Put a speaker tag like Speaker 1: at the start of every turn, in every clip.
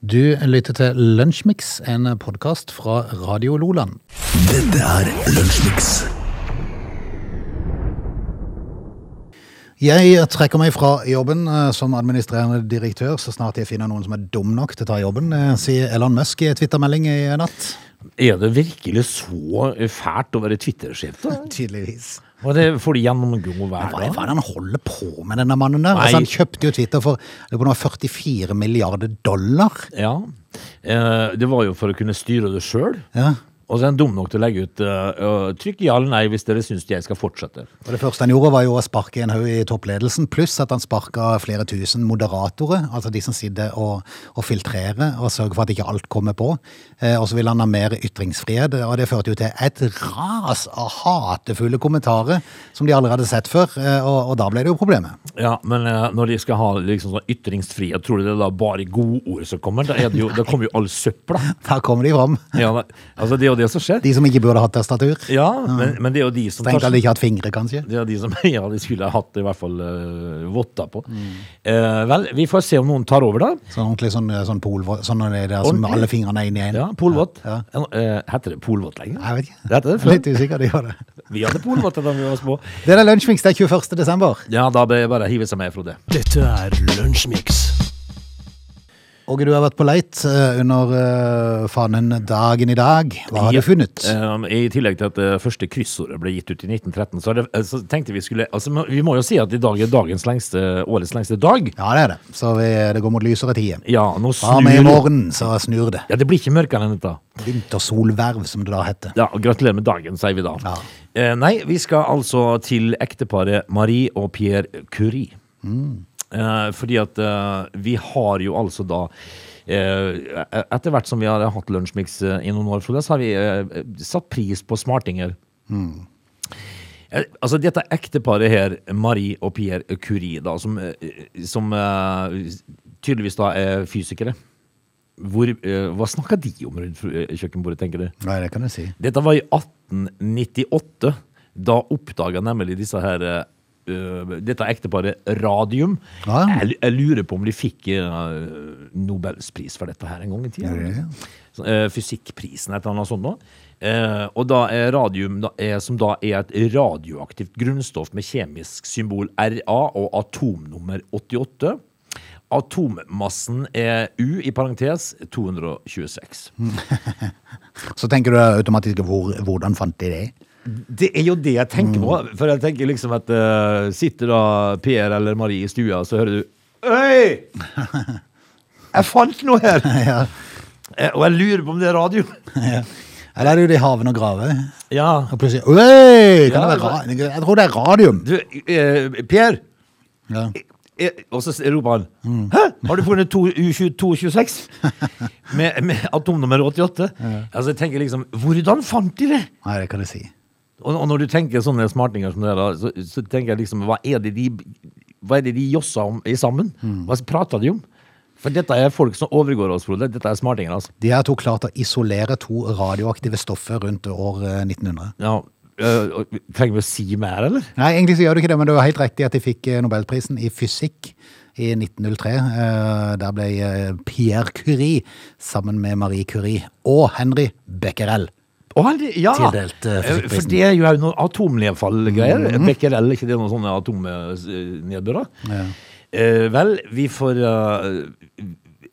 Speaker 1: Du lytter til Lunsjmix, en podkast fra Radio Loland.
Speaker 2: Dette er Lunsjmix.
Speaker 1: Jeg trekker meg fra jobben eh, som administrerende direktør så snart jeg finner noen som er dum nok til å ta jobben, eh, sier Elon Musk i en twittermelding i natt.
Speaker 3: Er det virkelig så fælt å være Twitter-sjef, da?
Speaker 1: Tydeligvis.
Speaker 3: Var det fordi gjennomgå hver
Speaker 1: Hva er
Speaker 3: dag?
Speaker 1: det han holder på med, denne mannen der?
Speaker 3: Nei.
Speaker 1: Altså, han kjøpte jo Twitter for jeg lurer på, det var 44 milliarder dollar.
Speaker 3: Ja. Eh, Det var jo for å kunne styre det sjøl.
Speaker 1: Ja.
Speaker 3: Og så er han dum nok til å legge ut eh, eh, Trykk ja eller nei hvis dere syns jeg skal fortsette.
Speaker 1: Og Det første han gjorde, var jo å sparke en haug i toppledelsen, pluss at han sparka flere tusen moderatorer, altså de som sitter og, og filtrerer og sørger for at ikke alt kommer på. Eh, og så ville han ha mer ytringsfrihet, og det førte jo til et ras av hatefulle kommentarer som de aldri hadde sett før, eh, og, og da ble det jo problemet.
Speaker 3: Ja, Men eh, når de skal ha liksom sånn ytringsfrihet, tror du det er da bare godord som kommer? Da, er det jo, da kommer jo all søpla.
Speaker 1: Da kommer de fram,
Speaker 3: Ja, da- altså, det er jo det som skjer.
Speaker 1: de som ikke burde hatt tastatur.
Speaker 3: Ja, men, men det er jo de som
Speaker 1: Strengt
Speaker 3: tar-
Speaker 1: tatt ikke hatt fingre, kanskje.
Speaker 3: Det er de som ja, de skulle ha hatt i hvert fall eh, votter på.
Speaker 1: Mm.
Speaker 3: Eh, vel, vi får se om noen tar over, da.
Speaker 1: Sånn ordentlig sånn, eh, sånn pol, sånn er det der som
Speaker 3: Ordentlig.
Speaker 1: alle fingrene er inn i en.
Speaker 3: Ja, Polvott.
Speaker 1: Ja.
Speaker 3: Eh, heter det Polvott lenger?
Speaker 1: Jeg vet ikke.
Speaker 3: Det heter det før.
Speaker 1: Litt usikker, det gjør det.
Speaker 3: Vi hadde Polvott da vi var små.
Speaker 1: Det er lunsjmix, det er 21. desember.
Speaker 3: Ja, da ble jeg bare hive seg med, Frode.
Speaker 2: Dette er Lunsjmix.
Speaker 1: Åge, du har vært på leit eh, under eh, fanen dagen i dag. Hva har
Speaker 3: Ja,
Speaker 1: du funnet?
Speaker 3: eh, I tillegg til at det første kryssordet ble gitt ut i 1913, så, er det, eh, så tenkte vi skulle altså, men Vi må jo si at i dag er dagens lengste, årets lengste dag.
Speaker 1: Ja, det er det. Så vi, det går mot lysere tider.
Speaker 3: Ja, nå
Speaker 1: Fra og med i
Speaker 3: snur
Speaker 1: morgen så snur det.
Speaker 3: Ja, Det blir ikke mørkere enn dette.
Speaker 1: Vintersolverv, som det da heter.
Speaker 3: Ja, Gratulerer med dagen, sier vi da.
Speaker 1: Ja.
Speaker 3: Eh, nei, vi skal altså til ekteparet Marie og Pierre Curie. Eh, fordi at eh, vi har jo altså da eh, Etter hvert som vi har hatt Lunsjmix eh, i noen år, Frode, så har vi eh, satt pris på smartinger. Eh, Altså dette ekteparet her, Marie og Pierre Curie, da, som, eh, som eh, tydeligvis da er fysikere. Hvor, eh, hva snakka de om rundt eh, kjøkkenbordet, tenker du?
Speaker 1: Nei, det kan du si.
Speaker 3: Dette var i 1898. Da oppdaga nemlig disse her eh, dette ekteparet radium.
Speaker 1: Ja.
Speaker 3: Jeg, jeg lurer på om de fikk eh, Nobelspris for dette her en gang i tida.
Speaker 1: Ja, ja.
Speaker 3: Sånn, eh, fysikkprisen, et eller annet sånt. nå. Eh, og da er radium, da er, som da er et radioaktivt grunnstoff med kjemisk symbol RA og atomnummer 88. Atommassen er U, i parentes, 226.
Speaker 1: Så tenker du automatisk hvor, hvordan fant de det?
Speaker 3: Det er jo det jeg tenker på. For jeg tenker liksom at eh, sitter da Per eller Marie i stua, så hører du Øy! Jeg fant noe her!
Speaker 1: Ja.
Speaker 3: Eh, Og jeg lurer på om det er radio.
Speaker 1: Ja. Eller er det jo de haven og grave?
Speaker 3: Ja.
Speaker 1: Og plutselig Oi! Kan
Speaker 3: Ja,
Speaker 1: det være ra jeg tror det er radium!
Speaker 3: Du, eh, Per!
Speaker 1: Ja.
Speaker 3: Eh, Og så roper han Hæ? Har du funnet to- U22 226? Med, med atomnummer 88? Altså, jeg tenker liksom Hvordan fant de det?
Speaker 1: Nei, det kan du si.
Speaker 3: Og, og når du tenker sånne smartinger som det der, så, så tenker jeg liksom, hva er det de, hva er det de jossa om i sammen? Hva prater de om? For dette er folk som overgår oss, Frode. Dette er smartinger, altså.
Speaker 1: De her to klarte å isolere to radioaktive stoffer rundt år eh, 1900.
Speaker 3: Ja, øh, og- trenger vi å si mer, eller?
Speaker 1: Nei, egentlig så gjør du ikke det, men det var helt riktig at de fikk eh, Nobelprisen i fysikk i 1903. Eh, Der ble eh, Pierre Curie sammen med Marie Curie og Henry Becquerel.
Speaker 3: Å, heldig- ja.
Speaker 1: Tildelt, eh,
Speaker 3: Eh,
Speaker 1: fysikkprisen.
Speaker 3: For det er jo her noen atomnedfallgreier. Becquerel, ikke det er noen sånne atomnedbører? Eh, vel, vi får eh,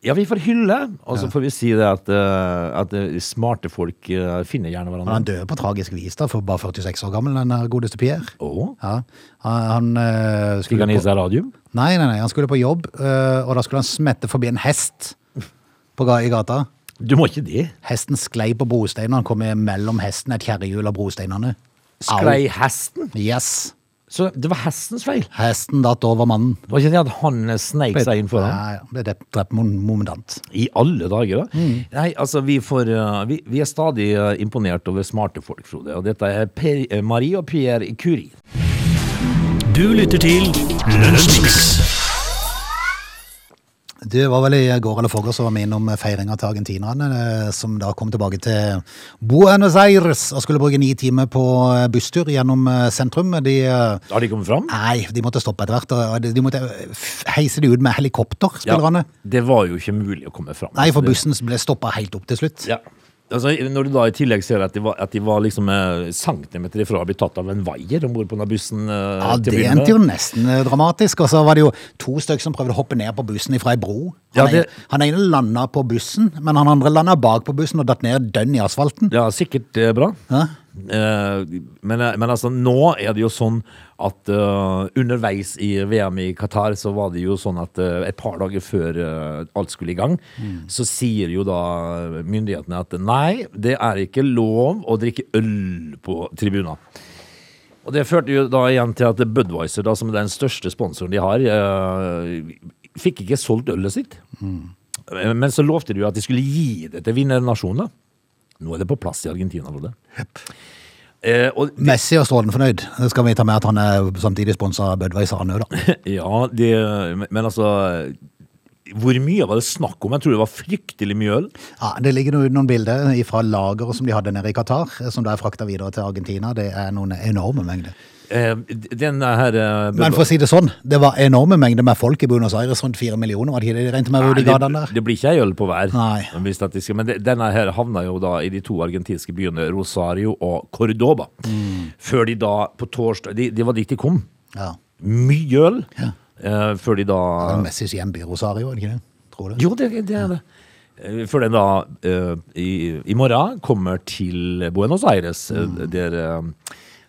Speaker 3: Ja, vi får hylle, og så får vi si det at, eh, at eh, smarte folk eh, finner gjerne
Speaker 1: Men
Speaker 3: hverandre.
Speaker 1: han døde på tragisk vis, da, for bare 46 år gammel, den her godeste Pierre.
Speaker 3: Å,
Speaker 1: Ja, han, han eh,
Speaker 3: Fikk
Speaker 1: skulle
Speaker 3: han i
Speaker 1: på,
Speaker 3: seg radium?
Speaker 1: nei, nei, nei, han skulle på jobb, eh, og da skulle han smette forbi en hest på ga, i gata.
Speaker 3: Du må ikke det.
Speaker 1: Hesten sklei på brosteinen, og han kom mellom hesten, et kjerrehjul og brosteinene. Au.
Speaker 3: Sklei hesten?
Speaker 1: Yes.
Speaker 3: Så det var hestens feil?
Speaker 1: Hesten datt over mannen.
Speaker 3: Det var ikke det at han sneik seg inn foran?
Speaker 1: Ja, ja, ble drept, drept mom- momentant.
Speaker 3: I alle dager, da?
Speaker 1: Mm.
Speaker 3: Nei, altså, vi, får, uh, vi, vi er stadig uh, imponert over smarte folk, Frode. Og dette er per, eh, Marie og Pierre Curie.
Speaker 2: Du lytter til Lunsjmix.
Speaker 1: Du var vel i går eller forgårs og var med innom feiringa til argentinerne, eh, som da kom tilbake til Buenos Aires og skulle bruke ni timer på eh, busstur gjennom eh, sentrum. De eh,
Speaker 3: Har de kommet fram?
Speaker 1: Nei, de måtte stoppe etter hvert. og De de måtte eh, f- heise de ut med helikopter, spillerne.
Speaker 3: det var jo ikke mulig å komme fram.
Speaker 1: Nei, for
Speaker 3: Det-
Speaker 1: bussen ble stoppa helt opp til slutt.
Speaker 3: Ja. Altså, når du da i tillegg ser at de var, at de var liksom eh, centimeter ifra å bli tatt av en vaier om bord på denne bussen eh,
Speaker 1: Ja,
Speaker 3: til å
Speaker 1: Det
Speaker 3: begynne med.
Speaker 1: endte jo nesten eh, dramatisk. Og så var det jo to stykker som prøvde å hoppe ned på bussen fra ei bro. Han,
Speaker 3: Ja, det-
Speaker 1: ene, han ene landa på bussen, men han andre landa bak på bussen og datt ned dønn i asfalten.
Speaker 3: Ja, sikkert eh, bra.
Speaker 1: Ja.
Speaker 3: Eh, men, men altså, nå er det jo sånn at eh, underveis i VM i Qatar så var det jo sånn at eh, et par dager før eh, alt skulle i gang, så sier jo da myndighetene at nei, det er ikke lov å drikke øl på tribuner. Og det førte jo da igjen til at Budweiser, da, som er den største sponsoren de har, eh, fikk ikke solgt ølet sitt. Men så lovte de jo at de skulle gi det til vinnernasjonene. Nå er det på plass i Argentina, Frode. Eh, og
Speaker 1: Messi og strålende fornøyd. Det skal vi ta med at han er samtidig sponsa av Budweiser, han òg, da.
Speaker 3: ja, det, men altså Hvor mye var det snakk om? Jeg tror det var fryktelig mye øl.
Speaker 1: Ja, det ligger noe- noen bilder fra lageret som de hadde nede i Qatar, eh, som da er frakta videre til Argentina. Det er noen enorme mengder.
Speaker 3: Eh, den her eh,
Speaker 1: Men for å si det sånn, det var enorme mengder med folk i Buenos Aires, rundt fire millioner, var det ikke det de regnet med ute i
Speaker 3: Nei,
Speaker 1: gatene
Speaker 3: det,
Speaker 1: der?
Speaker 3: det blir ikke ei øl på hver.
Speaker 1: Nei.
Speaker 3: Hvis at de skal- Men det, denne her havna jo da i de to argentinske byene Rosario og Cordoba.
Speaker 1: Mm.
Speaker 3: Før de da på torsdag de, Det var dit de kom.
Speaker 1: Ja.
Speaker 3: Mye øl.
Speaker 1: Ja.
Speaker 3: Eh, før de da
Speaker 1: Det var Messis hjemby, Rosario, er det ikke det? Tror du?
Speaker 3: Jo, det, det er det. Eh, Før den da eh, i, i morgen kommer til Buenos Aires, eh,
Speaker 1: Mm.
Speaker 3: der, eh,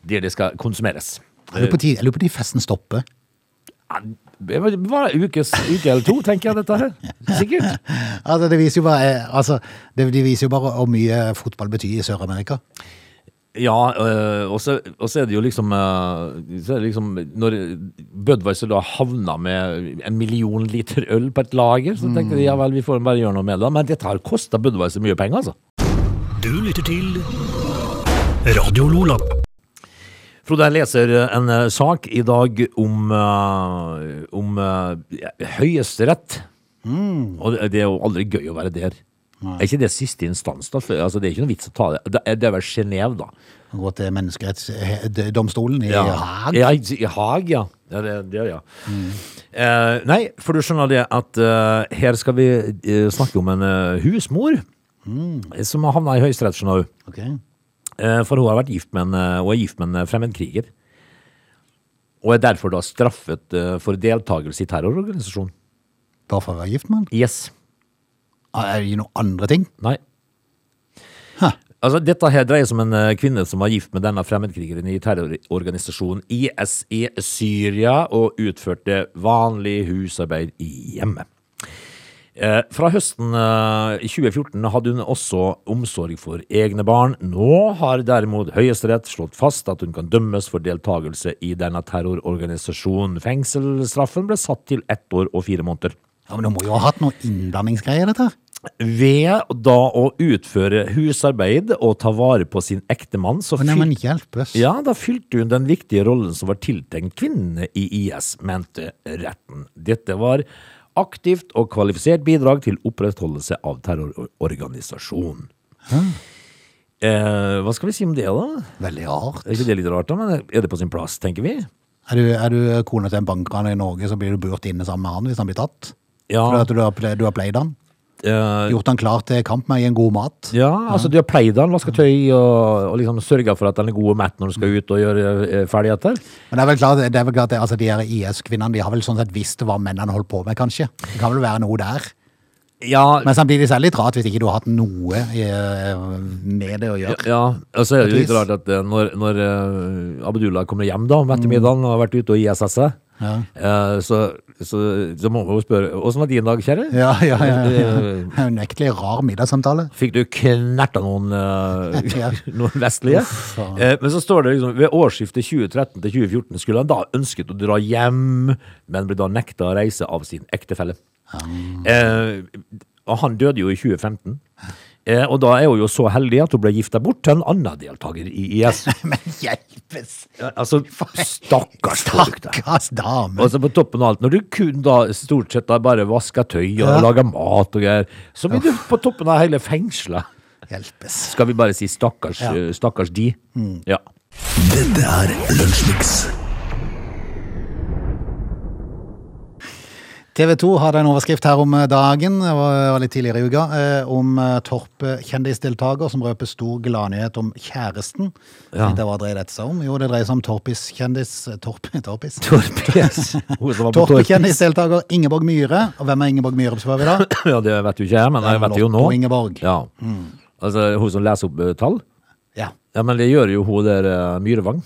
Speaker 3: der det skal konsumeres.
Speaker 1: Jeg lurer på tid- jeg lurer på når festen stopper.
Speaker 3: Ja, Det var- det var en ukes, uke eller to, tenker jeg, dette her. Sikkert.
Speaker 1: Altså, det viser jo bare, eh, altså, det, de viser jo bare hvor mye fotball betyr i Sør-Amerika.
Speaker 3: Ja, øh, og så og så er det jo liksom, øh, så er det liksom Når Budwiser da havna med en million liter øl på et lager, så tenkte de ja vel, vi får bare gjøre noe med det. Men dette har kosta Budwiser mye penger, altså.
Speaker 2: Du lytter til Radio Lola.
Speaker 3: Frode, jeg leser eh, en eh, sak i dag om, eh, om eh, Høyesterett. Og det- det er jo aldri gøy å være der. Er ikke det siste instans, da? For, altså, det er ikke noe vits å ta det. Det er, det er vel Genéve, da.
Speaker 1: Han går til menneskerettsdomstolen i Haag.
Speaker 3: Ja, i- i Haag, ja. ja, det, det, ja. Eh, nei, for du skjønner det at eh, her skal vi eh, snakke om en eh, husmor
Speaker 1: Mm.
Speaker 3: som har havna i Høyesterett, skjønner du.
Speaker 1: Ok.
Speaker 3: Eh, For hun har vært gift med en, eh, og er gift med en eh, fremmedkriger. Og er derfor da straffet eh, for deltakelse i terrororganisasjon.
Speaker 1: Bare for å være gift med han? Ah,
Speaker 3: Yes.
Speaker 1: Er det noen andre ting?
Speaker 3: Nei. Altså, dette her dreier seg om en eh, kvinne som var gift med denne fremmedkrigeren i terrororganisasjonen IS i E Syria, og utførte vanlig husarbeid i hjemmet. Eh, fra høsten eh, 2014 hadde hun også omsorg for egne barn. Nå har derimot Høyesterett slått fast at hun kan dømmes for deltakelse i denne terrororganisasjonen. Fengselsstraffen ble satt til ett år og fire måneder.
Speaker 1: Ja, men Du må jo ha hatt noe innblandingsgreier, dette her.
Speaker 3: Ved da å utføre husarbeid og ta vare på sin ektemann, så,
Speaker 1: Å, Nei, men
Speaker 3: fyl
Speaker 1: hjelpes.
Speaker 3: ja, da fylte hun den viktige rollen som var tiltenkt kvinnene i IS, mente retten. Dette var aktivt og kvalifisert bidrag til opprettholdelse av terrororganisasjonen. Eh, hva skal vi si om det, da?
Speaker 1: Veldig rart.
Speaker 3: Er ikke det litt rart, da? Men er det på sin plass, tenker vi?
Speaker 1: Er du, er du kone til en bankran i Norge, så blir du burt inne sammen med han hvis han blir tatt?
Speaker 3: Ja.
Speaker 1: Fordi at du har, ple- du har pleid han?
Speaker 3: Eh,
Speaker 1: Gjort han klar til kamp med i en god mat?
Speaker 3: Ja, altså du har pleid han, vaska tøy og, og liksom sørga for at han er god og mett når han skal ut og gjøre eh, ferdigheter.
Speaker 1: Men det er vel klart, det er vel klart at altså, de her IS-kvinnene de har vel sånn sett visst hva mennene holdt på med, kanskje? Det kan vel være noe der?
Speaker 3: Ja,
Speaker 1: Men samtidig så er det litt rart hvis ikke du har hatt noe eh, med det å gjøre.
Speaker 3: Ja, og så er det jo litt
Speaker 1: Vis.
Speaker 3: rart at eh, når, når eh, Abdullah kommer hjem da
Speaker 1: Mm.
Speaker 3: om ettermiddagen og har vært ute og ISS seg, eh, så, så, så må man jo spørre Åssen var din dag, kjære?
Speaker 1: Ja, ja, ja. ja.
Speaker 3: Eh,
Speaker 1: Det er jo en unektelig rar middagssamtale.
Speaker 3: Fikk du knerta noen, eh,
Speaker 1: Ja.
Speaker 3: noen vestlige?
Speaker 1: faen.
Speaker 3: Eh, men så står det liksom ved årsskiftet 2013 til 2014 skulle han da ønsket å dra hjem, men ble da nekta å
Speaker 1: Ah.
Speaker 3: reise av sin ektefelle. Eh, og han døde jo i 2015. Eh, og da er hun jo så heldig at hun ble gifta bort til en annen deltaker i IS.
Speaker 1: Men hjelpes!
Speaker 3: Eh, altså, stakkars folk, da.
Speaker 1: Stakkars dame!
Speaker 3: Og så på toppen av alt, når du kun da stort sett da bare vasker tøy og
Speaker 1: Ja.
Speaker 3: lager mat og greier, så blir du på toppen av hele fengsla.
Speaker 1: Hjelpes.
Speaker 3: Skal vi bare si stakkars,
Speaker 1: Ja. Mm.
Speaker 3: eh, stakkars de? Ja.
Speaker 2: Dette er Lunsjmix.
Speaker 1: TV 2 hadde en overskrift her om eh, dagen, det var litt tidligere i uka, eh, om eh, Torp-kjendisdeltaker som røper stor gladnyhet om kjæresten.
Speaker 3: Ja.
Speaker 1: Det var dreier dette seg om. Jo, det dreier seg om Torpis-kjendis Torp, Torpis.
Speaker 3: Torpes. Hun som var på Torpes.
Speaker 1: Torp-kjendisdeltaker Ingeborg Myhre. Og hvem er Ingeborg Myhre, spør vi da?
Speaker 3: Ja, det vet jo ikke jeg, men jeg vet det jo nå.
Speaker 1: Lotto Ingeborg. Mm.
Speaker 3: Ja. Altså, hun som leser opp eh, tall?
Speaker 1: Ja.
Speaker 3: Ja, men det gjør jo hun der eh, Myrevang.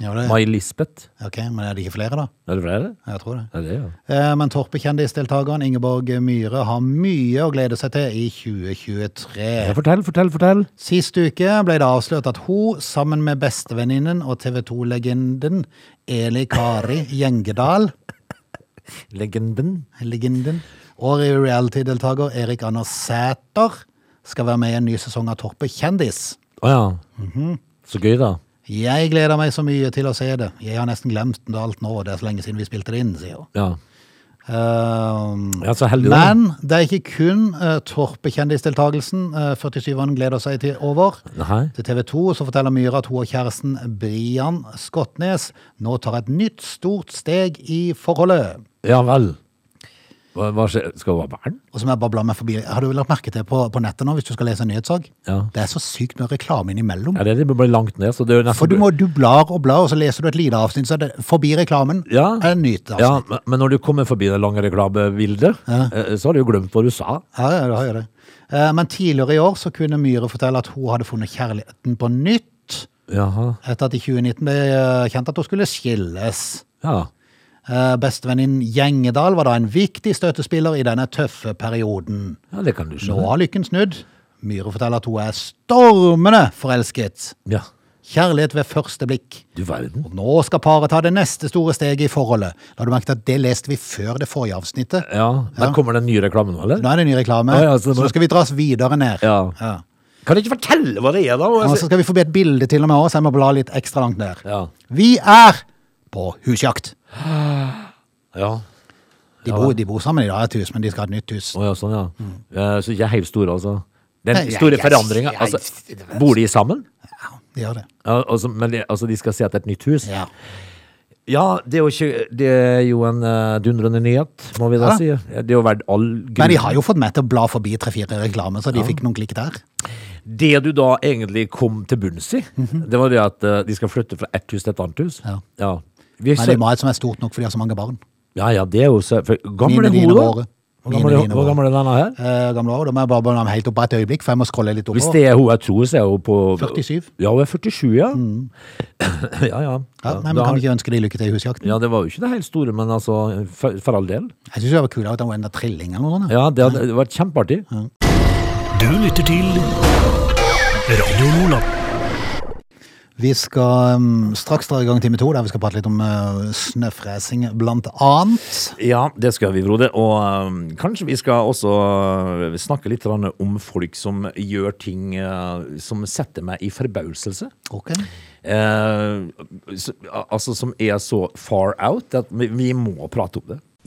Speaker 1: ja det,
Speaker 3: Mai Lisbeth.
Speaker 1: ok, men er det ikke flere, da?
Speaker 3: Er det flere?
Speaker 1: Jeg tror det.
Speaker 3: Ja, det er jo.
Speaker 1: Eh, Men Torp-kjendisdeltakeren Ingeborg Myhre har mye å glede seg til i 2023.
Speaker 3: Ja, fortell, fortell, fortell.
Speaker 1: Sist uke ble det avslørt at hun, sammen med bestevenninnen og TV 2-legenden Eli Kari Gjengedal
Speaker 3: Legenden.
Speaker 1: legenden, og reality-deltaker Erik Anders Sæter, skal være med i en ny sesong av Torpet kjendis.
Speaker 3: Å ja.
Speaker 1: Mm-hmm.
Speaker 3: Så gøy, da.
Speaker 1: Jeg gleder meg så mye til å se det. Jeg har nesten glemt det alt nå, det er så lenge siden vi spilte det inn, sier hun.
Speaker 3: Ja.
Speaker 1: Ehm,
Speaker 3: Ja, så heldig, da.
Speaker 1: men det er ikke kun uh, Torpe-kjendisdeltakelsen eh, 47-eren gleder seg til over.
Speaker 3: Nei.
Speaker 1: Til TV 2 så forteller Myhre at hun og kjæresten Brian Skotnes nå tar et nytt stort steg i forholdet.
Speaker 3: Ja vel. Hva, hva skjer? Skal hun ha barn?
Speaker 1: Og som jeg babla meg forbi, Har du lagt merke til på, på nettet nå, hvis du skal lese en nyhetssak?
Speaker 3: Ja.
Speaker 1: Det er så sykt med reklame innimellom.
Speaker 3: Ja, det blir bare langt ned, så det er jo nesten
Speaker 1: For du, må, du blar og blar, og så leser du et lite avsnitt, så er det forbi reklamen.
Speaker 3: Ja.
Speaker 1: Er det nytt,
Speaker 3: ja,
Speaker 1: altså.
Speaker 3: men- Men når du kommer forbi det lange reklamebildet, eh, så har du jo glemt hva du sa.
Speaker 1: Ja, ja, det har jo det. Eh, Men tidligere i år så kunne Myhre fortelle at hun hadde funnet kjærligheten på nytt.
Speaker 3: Jaha.
Speaker 1: Etter at i 2019 ble eh, kjent at hun skulle skilles.
Speaker 3: Ja.
Speaker 1: Eh, Bestevenninnen Gjengedal var da en viktig støttespiller i denne tøffe perioden.
Speaker 3: ja, det kan du
Speaker 1: Nå
Speaker 3: skjønne.
Speaker 1: har lykken snudd. Myhre forteller at hun er stormende forelsket.
Speaker 3: Ja.
Speaker 1: Kjærlighet ved første blikk.
Speaker 3: Du verden.
Speaker 1: Nå skal paret ta det neste store steget i forholdet. Da har du merket at Det leste vi før det forrige avsnittet.
Speaker 3: Ja, Men
Speaker 1: Ja.
Speaker 3: kommer det en ny reklame nå, eller?
Speaker 1: Nå er det ny reklame,
Speaker 3: Ja, ja,
Speaker 1: så,
Speaker 3: så det må-
Speaker 1: nå skal vi dras videre ned.
Speaker 3: Ja.
Speaker 1: Ja.
Speaker 3: Kan du ikke fortelle hva det er, da?
Speaker 1: Og så skal vi forbi et bilde til og med også, så jeg må bla litt ekstra langt ned.
Speaker 3: Ja.
Speaker 1: Vi er på husjakt.
Speaker 3: ja.
Speaker 1: De bor, de bor sammen i dag, et hus, men de skal ha et nytt hus.
Speaker 3: Å ja, sånn ja. Eh, Så ikke heiv store, altså. Den
Speaker 1: Nei,
Speaker 3: store
Speaker 1: jeg- jeg-
Speaker 3: forandringa
Speaker 1: jeg-
Speaker 3: altså, Bor de sammen?
Speaker 1: Ja, de gjør det.
Speaker 3: Ja, altså, men de, altså, de skal se etter et nytt hus?
Speaker 1: Ja.
Speaker 3: Ja, det er jo, ikke, det er jo en eh, dundrende nyhet, må vi da
Speaker 1: Ja.
Speaker 3: si. Ja, Det er jo verdt all grunn.
Speaker 1: Men de har jo fått meg til å bla forbi tre-fire reklamer, så de fikk noen klikk der.
Speaker 3: Det du da egentlig kom til bunns i, det var det at eh, de skal flytte fra ett hus til et annet hus.
Speaker 1: Mhm. Ja.
Speaker 3: Vi
Speaker 1: Men de
Speaker 3: ser-
Speaker 1: må ha et som er stort nok, for de har så mange barn.
Speaker 3: ja, ja, det er jo så for, Gammel
Speaker 1: Mine,
Speaker 3: er
Speaker 1: dine,
Speaker 3: hun, da?
Speaker 1: våre.
Speaker 3: Hvor
Speaker 1: Mine,
Speaker 3: gammel er-
Speaker 1: dine,
Speaker 3: Hvor
Speaker 1: våre.
Speaker 3: gammel er denne her?
Speaker 1: Eh, gamle år, da må jeg bare blande dem helt opp bare et øyeblikk, for jeg må scrolle litt
Speaker 3: Hvis
Speaker 1: oppover.
Speaker 3: det er hun jeg tror, så er hun på
Speaker 1: 47.
Speaker 3: Ja, hun er 47, ja. ja, ja.
Speaker 1: Mm. Ja, nei, men
Speaker 3: da-
Speaker 1: kan vi ikke ønske de lykke til i husjakten?
Speaker 3: Ja, det var jo ikke det helt store, men altså, for, for all del.
Speaker 1: Jeg synes det var kult at det var en av trilling eller noe sånt.
Speaker 3: Ja, det hadde det vært kjempeartig.
Speaker 2: Du lytter til Radio Lola.
Speaker 1: Vi skal um, straks dra i gang time to, der vi skal prate litt om uh, snøfresing blant annet.
Speaker 3: Ja, det skal vi, Frode. Og øhm, kanskje vi skal også øh, snakke litt grann om folk som gjør ting øh, som setter meg i forbauselse.
Speaker 1: Ok.
Speaker 3: Eh, så- altså som er så far out at vi, vi må prate om det.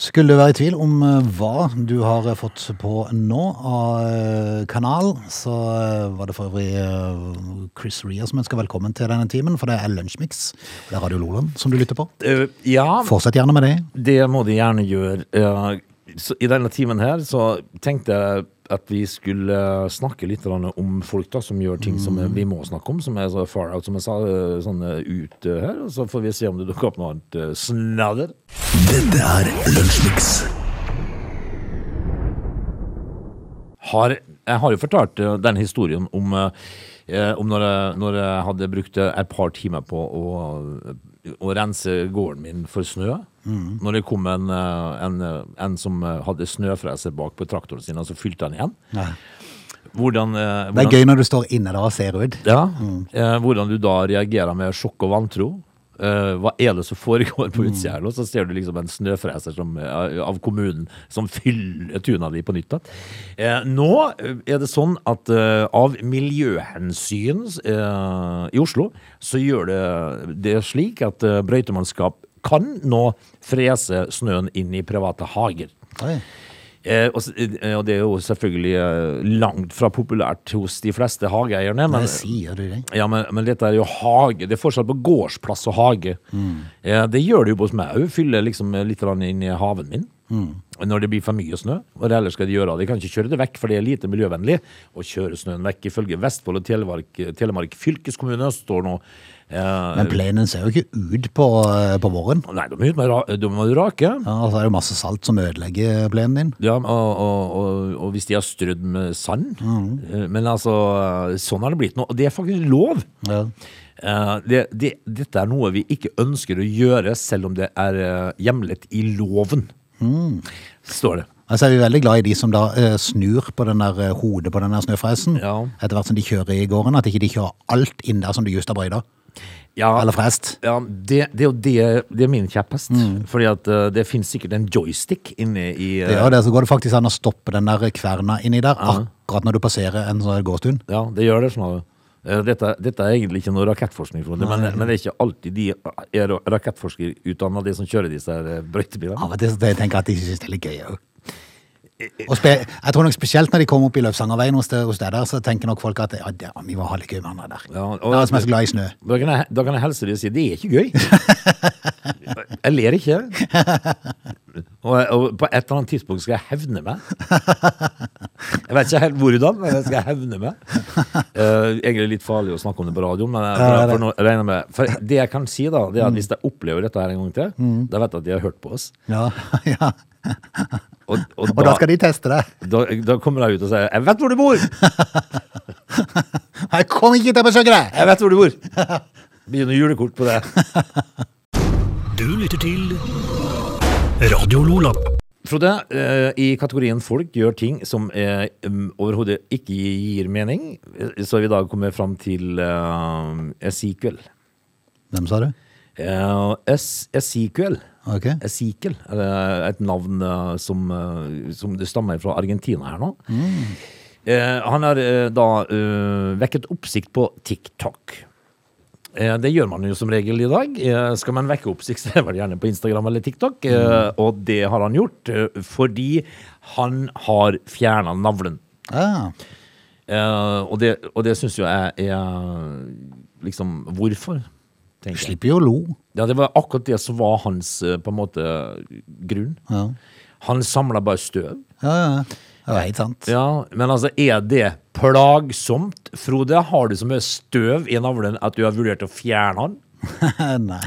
Speaker 1: Skulle du være i tvil om eh, hva du har eh, fått på nå av eh, kanal, så eh, var det for øvrig eh, Chris Rea som ønsker velkommen til denne timen, for det er Lunsjmix. Det er Radio Loland som du lytter på.
Speaker 3: Eh, ja,
Speaker 1: Fortsett gjerne med det.
Speaker 3: det må de gjerne gjøre. Eh, så I denne timen her så tenkte jeg at vi skulle eh, snakke litt grann om folk da, som gjør ting som eh, vi må snakke om, som er så far out, som jeg sa, eh, sånn eh, ut eh, her. Og så får vi se om det dukker opp noe annet eh, snadder.
Speaker 2: Dette er Lunsjmix.
Speaker 3: Har, jeg har jo fortalt eh, den historien om, eh, eh, om når, jeg, når jeg hadde brukt eh, et par timer på å, å rense gården min for snø.
Speaker 1: Mm.
Speaker 3: Når det kom en, eh, en, eh, en som eh, hadde snøfreser bak på traktoren sin, og så fylte han igjen.
Speaker 1: Nei.
Speaker 3: Hvordan, eh,
Speaker 1: Det
Speaker 3: hvordan-
Speaker 1: er gøy når du står inne der og ser ut.
Speaker 3: Ja, eh, hvordan du da reagerer med sjokk og vantro. Eh, hva er det som foregår på utsida her nå? Så ser du liksom en snøfreser som, eh, av kommunen som fyller tuna di på nytt. da. Eh, nå eh, er det sånn at eh, av miljøhensyn eh, i Oslo, så gjør det det slik at eh, brøytemannskap kan nå frese snøen inn i private hager.
Speaker 1: Oi.
Speaker 3: Eh, og, s- eh, og det er jo selvfølgelig eh, langt fra populært hos de fleste hageeierne.
Speaker 1: Hva
Speaker 3: Men,
Speaker 1: sier du det?
Speaker 3: ja, men, men dette er jo hage. Det er forskjell på gårdsplass og hage. Eh, det gjør det jo hos meg. Hun fyller liksom litt grann inn i haven min. Når det blir for mye snø. Hva ellers skal de gjøre? De kan ikke kjøre det vekk, for det er lite miljøvennlig å kjøre snøen vekk. Ifølge Vestfold og Telemark, Telemark fylkeskommune står nå eh,
Speaker 1: Men plenen ser jo ikke ut på, eh, på våren.
Speaker 3: Nei, de må ut med ra- de må rake.
Speaker 1: Ja, og så er det masse salt som ødelegger plenen din.
Speaker 3: Ja, og, og, og, og hvis de har strødd med sand. Eh, Men altså, eh, sånn har det blitt nå. Og det er faktisk lov.
Speaker 1: Ja.
Speaker 3: Eh, det, det, dette er noe vi ikke ønsker å gjøre, selv om det er eh, hjemlet i loven.
Speaker 1: Mm.
Speaker 3: Står det.
Speaker 1: Altså er vi veldig glad i de som da eh, snur på den der eh, hodet på den der snøfresen.
Speaker 3: Ja.
Speaker 1: Etter hvert som de kjører i gården, at ikke de kjører alt inn der som du just har brøyda.
Speaker 3: Ja,
Speaker 1: Eller frest.
Speaker 3: ja det, det, er jo det, det er min kjepphest. Fordi at eh, det finnes sikkert en joystick inne i eh,
Speaker 1: Mm. Det gjør det, så går det faktisk an å stoppe den der kverna inni der,
Speaker 3: Ah.
Speaker 1: akkurat når du passerer en sånn gåstund.
Speaker 3: Ja, det gjør det. Sånn. Eh, Dette, dette er egentlig ikke noe rakettforskning, Frode, men, men det er ikke alltid de er rakettforskerutdanna, de som kjører disse her, eh, brøytebilene.
Speaker 1: Av og til så tenker jeg at de synes Ah, det er litt gøy òg. Og spe, jeg tror nok spesielt når de kommer opp i Løvsangerveien hos, det- hos deg der, så tenker nok folk at ja, det- ja vi må ha litt gøy med han der.
Speaker 3: Ja, og-
Speaker 1: Det er han som er så glad i snø.
Speaker 3: Da kan, jeg, da kan jeg helse deg og si det er ikke gøy. Jeg ler ikke. Og, jeg- og på et eller annet tidspunkt skal jeg hevne meg. Jeg vet ikke helt hvordan, men jeg skal hevne meg. Eh, egentlig litt farlig å snakke om det på radioen, men jeg,
Speaker 1: Ja, Mm.
Speaker 3: for, for, nå regner jeg med, for det jeg kan si, da, det er at hvis jeg opplever dette her en gang til, da vet jeg at de har hørt på oss.
Speaker 1: Ja, ja.
Speaker 3: Og, og,
Speaker 1: Og da skal de teste deg.
Speaker 3: da, da kommer jeg ut og sier 'Jeg vet hvor du bor!' 'Jeg
Speaker 1: Nei, kom ikke til å besøke deg!
Speaker 3: vet hvor du bor!' Begynner julekort på det.
Speaker 2: Du lytter til Radio Lola.
Speaker 3: Frode, eh, i kategorien folk gjør ting som eh, um, overhodet ikke gir mening, eh, så har vi i dag kommet fram til eh, Esekiel.
Speaker 1: Hvem sa du?
Speaker 3: Eh, Es- Esekiel.
Speaker 1: Ok.
Speaker 3: Esekiel er eh, et navn eh, som, eh, som det stammer fra Argentina her nå. Eh, han har eh, da eh, vekket oppsikt på TikTok. Eh, Det gjør man jo som regel i dag. Eh, Skal man vekke oppsikt, så er det vel gjerne på Instagram eller TikTok. eh, Og det har han gjort eh, fordi han har fjerna navlen.
Speaker 1: Ah,
Speaker 3: Eh, Og det, og det syns jo jeg er liksom Hvorfor? tenker jeg.
Speaker 1: slipper jo å lo.
Speaker 3: Ja, det var akkurat det som var hans eh, på en måte grunn.
Speaker 1: Ja.
Speaker 3: Han samla bare støv.
Speaker 1: Ja, ja. ja. Det var helt sant.
Speaker 3: Ja, Men altså, er det plagsomt? Frode, har du så mye støv i navlen at du har vurdert å fjerne han?
Speaker 1: Nei.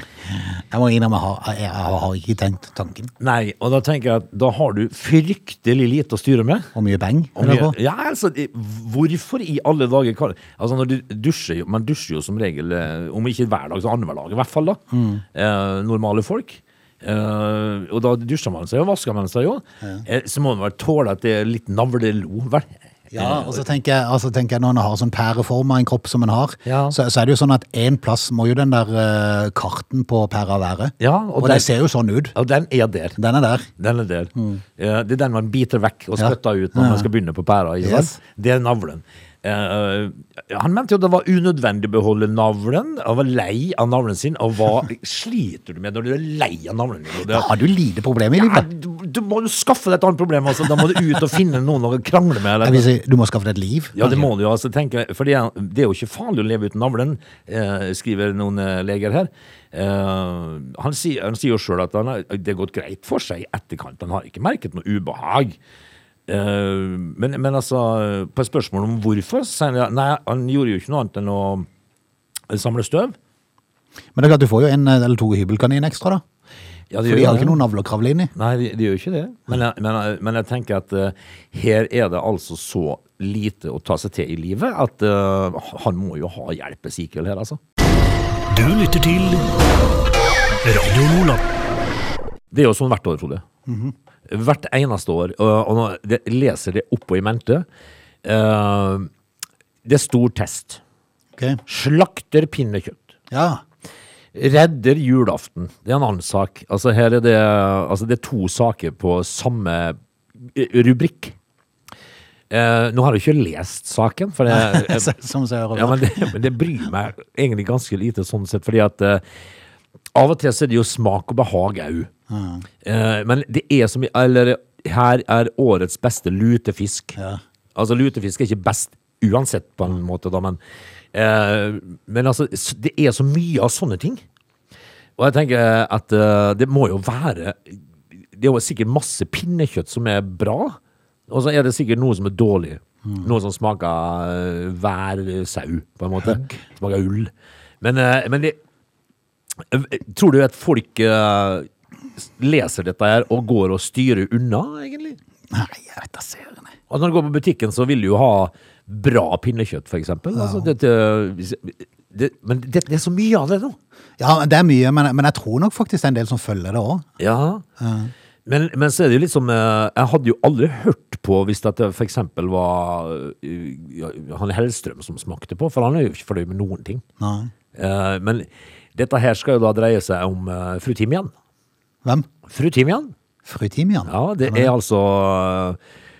Speaker 1: Jeg må innrømme, jeg har- jeg har jeg har ikke tenkt tanken.
Speaker 3: Nei, og da tenker jeg at da har du fryktelig lite å styre med.
Speaker 1: Og mye bang.
Speaker 3: Om
Speaker 1: eller
Speaker 3: jeg-
Speaker 1: hva?
Speaker 3: ja, altså, i- hvorfor i alle dager kan Altså, når du dusjer jo Man dusjer jo som regel, eh, om ikke hver dag, så annenhver dag, i hvert fall, da. Eh, normale folk. Eh, og da dusjer man seg jo, vasker man seg jo. Eh, så må man vel tåle at det er litt navlelo, vel?
Speaker 1: Ja, og så tenker jeg, altså tenker jeg Når en har sånn pæreform av en kropp som en har,
Speaker 3: Ja.
Speaker 1: så, så er det jo sånn at én plass må jo den der eh, karten på pæra være.
Speaker 3: Ja, og
Speaker 1: og
Speaker 3: den-
Speaker 1: det ser jo sånn ut.
Speaker 3: Og den er der.
Speaker 1: Den er der.
Speaker 3: Den er der. Eh, det er den man biter vekk og
Speaker 1: Mm. Ja.
Speaker 3: spytter ut når man skal begynne på pæra. Ikke sant?
Speaker 1: Yes.
Speaker 3: Det er navlen. Eh, han mente jo det var unødvendig å beholde navlen. Han var lei av navlen sin. Og hva sliter du med når du er lei av navlen din? Og det-
Speaker 1: Da har du lite problem i
Speaker 3: Ja,
Speaker 1: livet.
Speaker 3: du, du må jo skaffe deg et annet problem. Altså. Da må du ut og finne noen å krangle
Speaker 1: Jeg
Speaker 3: med. Eller.
Speaker 1: vil si, du må skaffe deg et liv.
Speaker 3: Ja, det
Speaker 1: kanskje.
Speaker 3: må du jo. Altså, tenke, for det er, det er jo ikke farlig å leve uten navlen, eh, skriver noen eh, leger her. Eh, han, sier, han sier jo sjøl at han har, det har gått greit for seg i etterkant. Han har ikke merket noe ubehag. Eh, men, men altså, på spørsmål om hvorfor, så sier han ja, nei, han gjorde jo ikke noe annet enn å eh, samle støv.
Speaker 1: Men det er klart, du får jo en eh, eller to hybelkaniner ekstra, da.
Speaker 3: Ja,
Speaker 1: For
Speaker 3: det gjør
Speaker 1: de
Speaker 3: jo
Speaker 1: har
Speaker 3: det.
Speaker 1: ikke noen navle å kravle inn i.
Speaker 3: Nei, de, de gjør ikke det. Men jeg, men, jeg- men jeg tenker at eh, her er det altså så lite å ta seg til i livet at eh, han må jo ha hjelp av Sikkel her, altså.
Speaker 2: Du lytter til Radio Lola.
Speaker 3: Det er jo sånn hvert år, Frode. Hvert eneste år. Og, og nå det, leser det oppå i mente. eh, Det er stor test.
Speaker 1: Ok.
Speaker 3: Slakter pinnekjøtt.
Speaker 1: Ja.
Speaker 3: Redder julaften. Det er en annen sak. Altså, her er det, altså, det er to saker på samme eh, rubrikk. Eh, nå har jeg ikke lest saken, for jeg, jeg,
Speaker 1: Som seg hører
Speaker 3: Eh, ja, men, det, men det bryr meg egentlig ganske lite sånn sett, fordi at eh, av og til så er det jo smak og behag au. Eh, men det er som i Eller her er årets beste lutefisk.
Speaker 1: Ja.
Speaker 3: Altså, lutefisk er ikke best uansett, på en måte, da, men eh, Men altså, s- det er så mye av sånne ting. Og jeg tenker at eh, det må jo være Det er jo sikkert masse pinnekjøtt som er bra, og så er det sikkert noe som er dårlig. Noe som smaker eh, hver sau, på en måte. Smaker ull. Men, eh, men det, eh, tror du at folk eh, leser dette her og går og styrer unna, egentlig?
Speaker 1: Nei, jeg vet da søren. jeg.
Speaker 3: Altså, når du går på butikken, så vil du jo ha bra pinnekjøtt, for eksempel. Altså, dette, det, men det, det er så mye av det nå.
Speaker 1: Ja, det er mye, men, men jeg tror nok faktisk det er en del som følger det òg.
Speaker 3: Ja. Men, men så er det jo litt som eh, Jeg hadde jo aldri hørt på hvis dette for eksempel var eh, ja, han Hellstrøm som smakte på, for han er jo ikke fornøyd med noen ting. Eh, men dette her skal jo da dreie seg om eh, fru Timian.
Speaker 1: Hvem?
Speaker 3: Fru Timian?
Speaker 1: Fru Timian?
Speaker 3: Ja, det er altså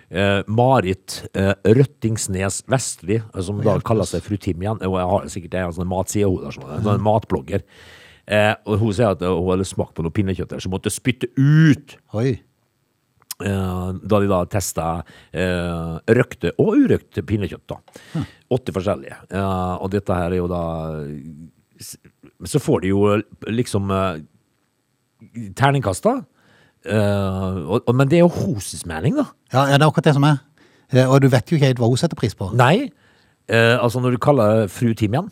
Speaker 3: eh, Marit eh, Røttingsnes Vestli, eh, som da kaller seg fru Timian. Og jeg har sikkert en sånn matside hun der, sånn, en sånn matblogger. Eh, og hun sier at eh, hun hadde smakt på noe pinnekjøtt der, så hun måtte spytte ut.
Speaker 1: Oi.
Speaker 3: Eh, da de da testa eh, røkte og urøkte pinnekjøtt. da. Åtte forskjellige. Eh, og dette her er jo da s- Så får de jo liksom eh, terningkasta. Eh, og, og, men det er jo hoses mening, da.
Speaker 1: Ja, ja, det er akkurat det som er. Eh, Og du vet jo ikke helt hva hun setter pris på.
Speaker 3: Nei. Eh, altså når du kaller fru timian,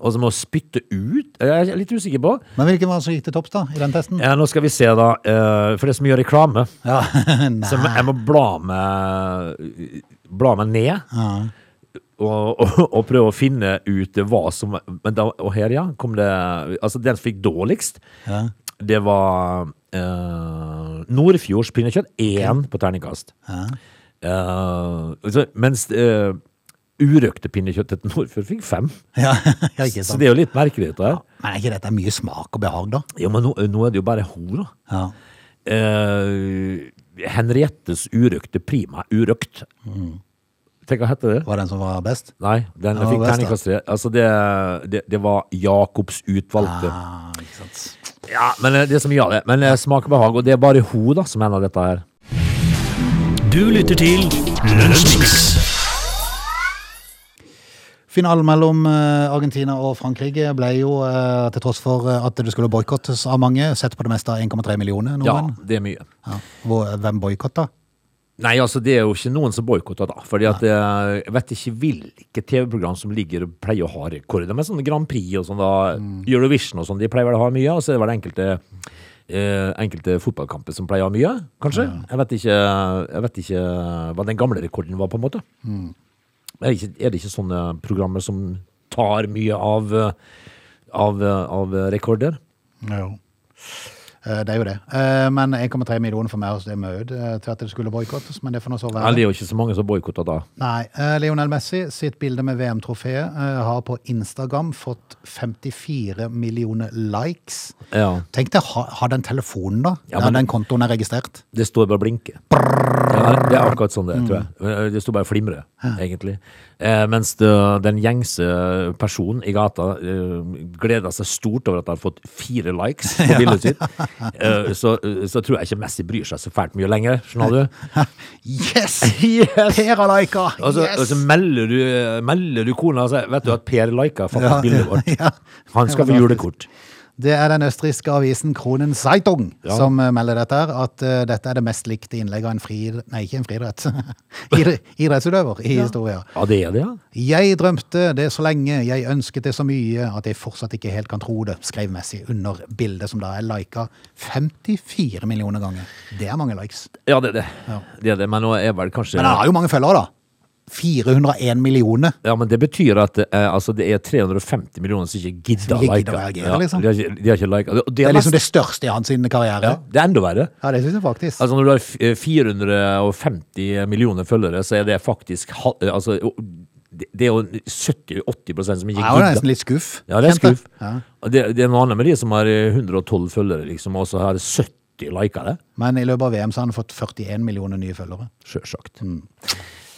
Speaker 3: og så må spytte ut Jeg er litt usikker på.
Speaker 1: Men hvilken var det som gikk til topps da, i den testen?
Speaker 3: Eh, nå skal vi se, da. Eh, for det er så mye reklame.
Speaker 1: Ja,
Speaker 3: Så jeg må- jeg må bla meg, bla meg ned. Og, og, og prøve å finne ut hva som men da, Og her, ja, kom det Altså, den som fikk dårligst, det var eh, Nordfjords pinnekjøtt. Én på terningkast. Eh, så, mens eh, urøkte pinnekjøtt til Nordfjord fikk fem.
Speaker 1: ja, ja ikke
Speaker 3: Så
Speaker 1: sant.
Speaker 3: det er jo litt merkelig, dette her.
Speaker 1: Men er ikke dette mye smak og behag, da?
Speaker 3: Ja, men nå, nå er det jo bare hun, da.
Speaker 1: Ja.
Speaker 3: Eh, Henriettes urøkte prima urøkt. Tenk hva heter det?
Speaker 1: Var den som var best?
Speaker 3: Nei, den
Speaker 1: Mm. Ja, best,
Speaker 3: fikk
Speaker 1: da.
Speaker 3: terningkast tre. Altså, det, det, det var Jakobs utvalgte.
Speaker 1: Ah, ikke sant.
Speaker 3: Ja, men eh, det er så mye av det. Men eh, smak og behag, og det er bare hun da som mener dette her.
Speaker 2: Du lytter til Lunsjmix.
Speaker 1: Finalen mellom eh, Argentina og Frankrike ble jo, eh, til tross for eh, at det skulle boikottes av mange, sett på det meste av 1,3 millioner
Speaker 3: Ja,
Speaker 1: nordmenn.
Speaker 3: det er mye.
Speaker 1: Ja. Hvor- eh, Hvem boikotta?
Speaker 3: Nei, altså, det er jo ikke noen som boikotter, da. Fordi at eh, jeg vet ikke hvilke TV-program som ligger og pleier å ha rekorder. Men sånn Grand Prix og sånn, da. Eurovision og sånn, de pleier vel å ha mye. Og så er det vel enkelte, eh, enkelte fotballkamper som pleier å ha mye, kanskje. Jeg, vet ikke, jeg vet ikke hva den gamle rekorden var, på en måte. Er, det ikke, er det ikke sånne programmer som tar mye av, eh, av, eh, av rekorder?
Speaker 1: Jo. Eh, Det er jo det. Eh, Men 1,3 millioner for meg altså, det er mye eh, til at det skulle boikottes, men det får nå så
Speaker 3: Ja,
Speaker 1: være.
Speaker 3: det er jo ikke så mange som boikotter da.
Speaker 1: Nei. eh, Lionel Messi sitt bilde med VM-trofeet eh, har på Instagram fått 54 millioner likes.
Speaker 3: Ja.
Speaker 1: Tenk deg ha, ha den telefonen, da.
Speaker 3: Ja,
Speaker 1: der
Speaker 3: men-
Speaker 1: den kontoen er registrert.
Speaker 3: Det står bare blinke. Ja, det er akkurat sånn det er, tror
Speaker 1: Mm.
Speaker 3: jeg. Det står bare flimre, egentlig. Eh, mens det, den gjengse personen i gata eh, gleder seg stort over at han har fått fire likes på bildet sitt, eh, så, så tror jeg ikke Messi bryr seg så fælt mye lenger, skjønner du?
Speaker 1: Yes!
Speaker 3: Yes!
Speaker 1: Per har lika!
Speaker 3: Og så, og
Speaker 1: Yes!
Speaker 3: så melder, du, eh, melder du kona og sier Vet du at Per liker faktisk
Speaker 1: Ja,
Speaker 3: bildet vårt?
Speaker 1: ja.
Speaker 3: Han
Speaker 1: Det var
Speaker 3: skal få
Speaker 1: drastisk.
Speaker 3: julekort.
Speaker 1: Det er den østerrikske avisen Kronen Zeitung
Speaker 3: Ja.
Speaker 1: som eh, melder dette her, at eh, dette er det mest likte innlegget av en fri... Nei, ikke en friidrett. Idre- Idrettsutøver i historien.
Speaker 3: Ja, det er det, ja.
Speaker 1: Jeg drømte det så lenge, jeg ønsket det så mye, at jeg fortsatt ikke helt kan tro det, skrev Messi under bildet som da er lika 54 millioner ganger. Det er mange likes.
Speaker 3: Ja, det er det. det, er det. Men nå er vel kanskje
Speaker 1: Men han har jo mange følgere, da. 401 millioner.
Speaker 3: Ja, men det betyr at eh, altså, det er 350 millioner som ikke gidder
Speaker 1: Som
Speaker 3: å
Speaker 1: ikke
Speaker 3: like.
Speaker 1: gidder å reagere,
Speaker 3: Ja,
Speaker 1: liksom.
Speaker 3: De har ikke, de har ikke like. Og
Speaker 1: Det
Speaker 3: er
Speaker 1: er liksom
Speaker 3: nesten-
Speaker 1: det største i hans sin karriere.
Speaker 3: ja, det er enda verre.
Speaker 1: Ja, det syns jeg faktisk.
Speaker 3: Altså Når du har f- eh, 450 millioner følgere, så er det faktisk hal- eh, altså, o- Det det er jo 70-80 som
Speaker 1: Jeg
Speaker 3: ikke
Speaker 1: var nesten
Speaker 3: gidder.
Speaker 1: litt skuff.
Speaker 3: Ja, det er
Speaker 1: kjente jeg.
Speaker 3: skuff. Og Det, det er noe annet med de som har eh, 112 følgere, liksom, og så har 70 lika det.
Speaker 1: Men i løpet av VM så har han fått 41 millioner nye følgere. Mm.
Speaker 3: Sjølsagt.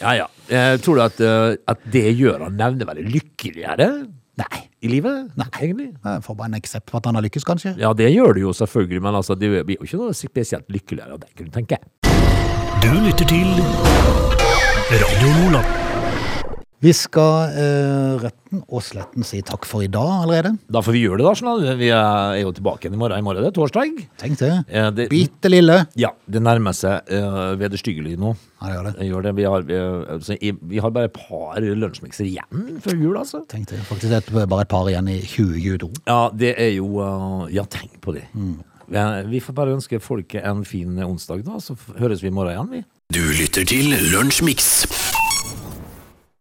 Speaker 3: Ja ja. Eh, tror du at, eh, at det gjør han nevneverdig lykkeligere
Speaker 1: Nei.
Speaker 3: i livet? Nei. Egentlig?
Speaker 1: Jeg får bare en aksept for at han har lykkes, kanskje.
Speaker 3: Ja, det gjør det jo selvfølgelig, men altså, det blir jo ikke noe spesielt lykkeligere av den grunn, tenker jeg.
Speaker 2: Du lytter til Radio Lola.
Speaker 1: Vi skal eh, retten og sletten si takk for i dag allerede.
Speaker 3: Da får vi gjøre det, da. Sånn at vi er jo tilbake igjen i morgen. I morgen er det torsdag.
Speaker 1: Tenk det.
Speaker 3: Eh, det-
Speaker 1: Bitte lille.
Speaker 3: Ja, det nærmer seg uh, vederstyggelig nå.
Speaker 1: Ja, det gjør det.
Speaker 3: Det Gjør det. Vi, har, vi, altså, i- vi har bare et par lunsjmikser igjen før jul, altså.
Speaker 1: Tenk det. Faktisk et, bare et par igjen i 2022.
Speaker 3: Ja, det er jo eh, Ja, tenk på det. Ja, vi får bare ønske folket en fin onsdag, da. Så f- høres vi i morgen igjen, vi.
Speaker 2: Du lytter til Lunsjmix.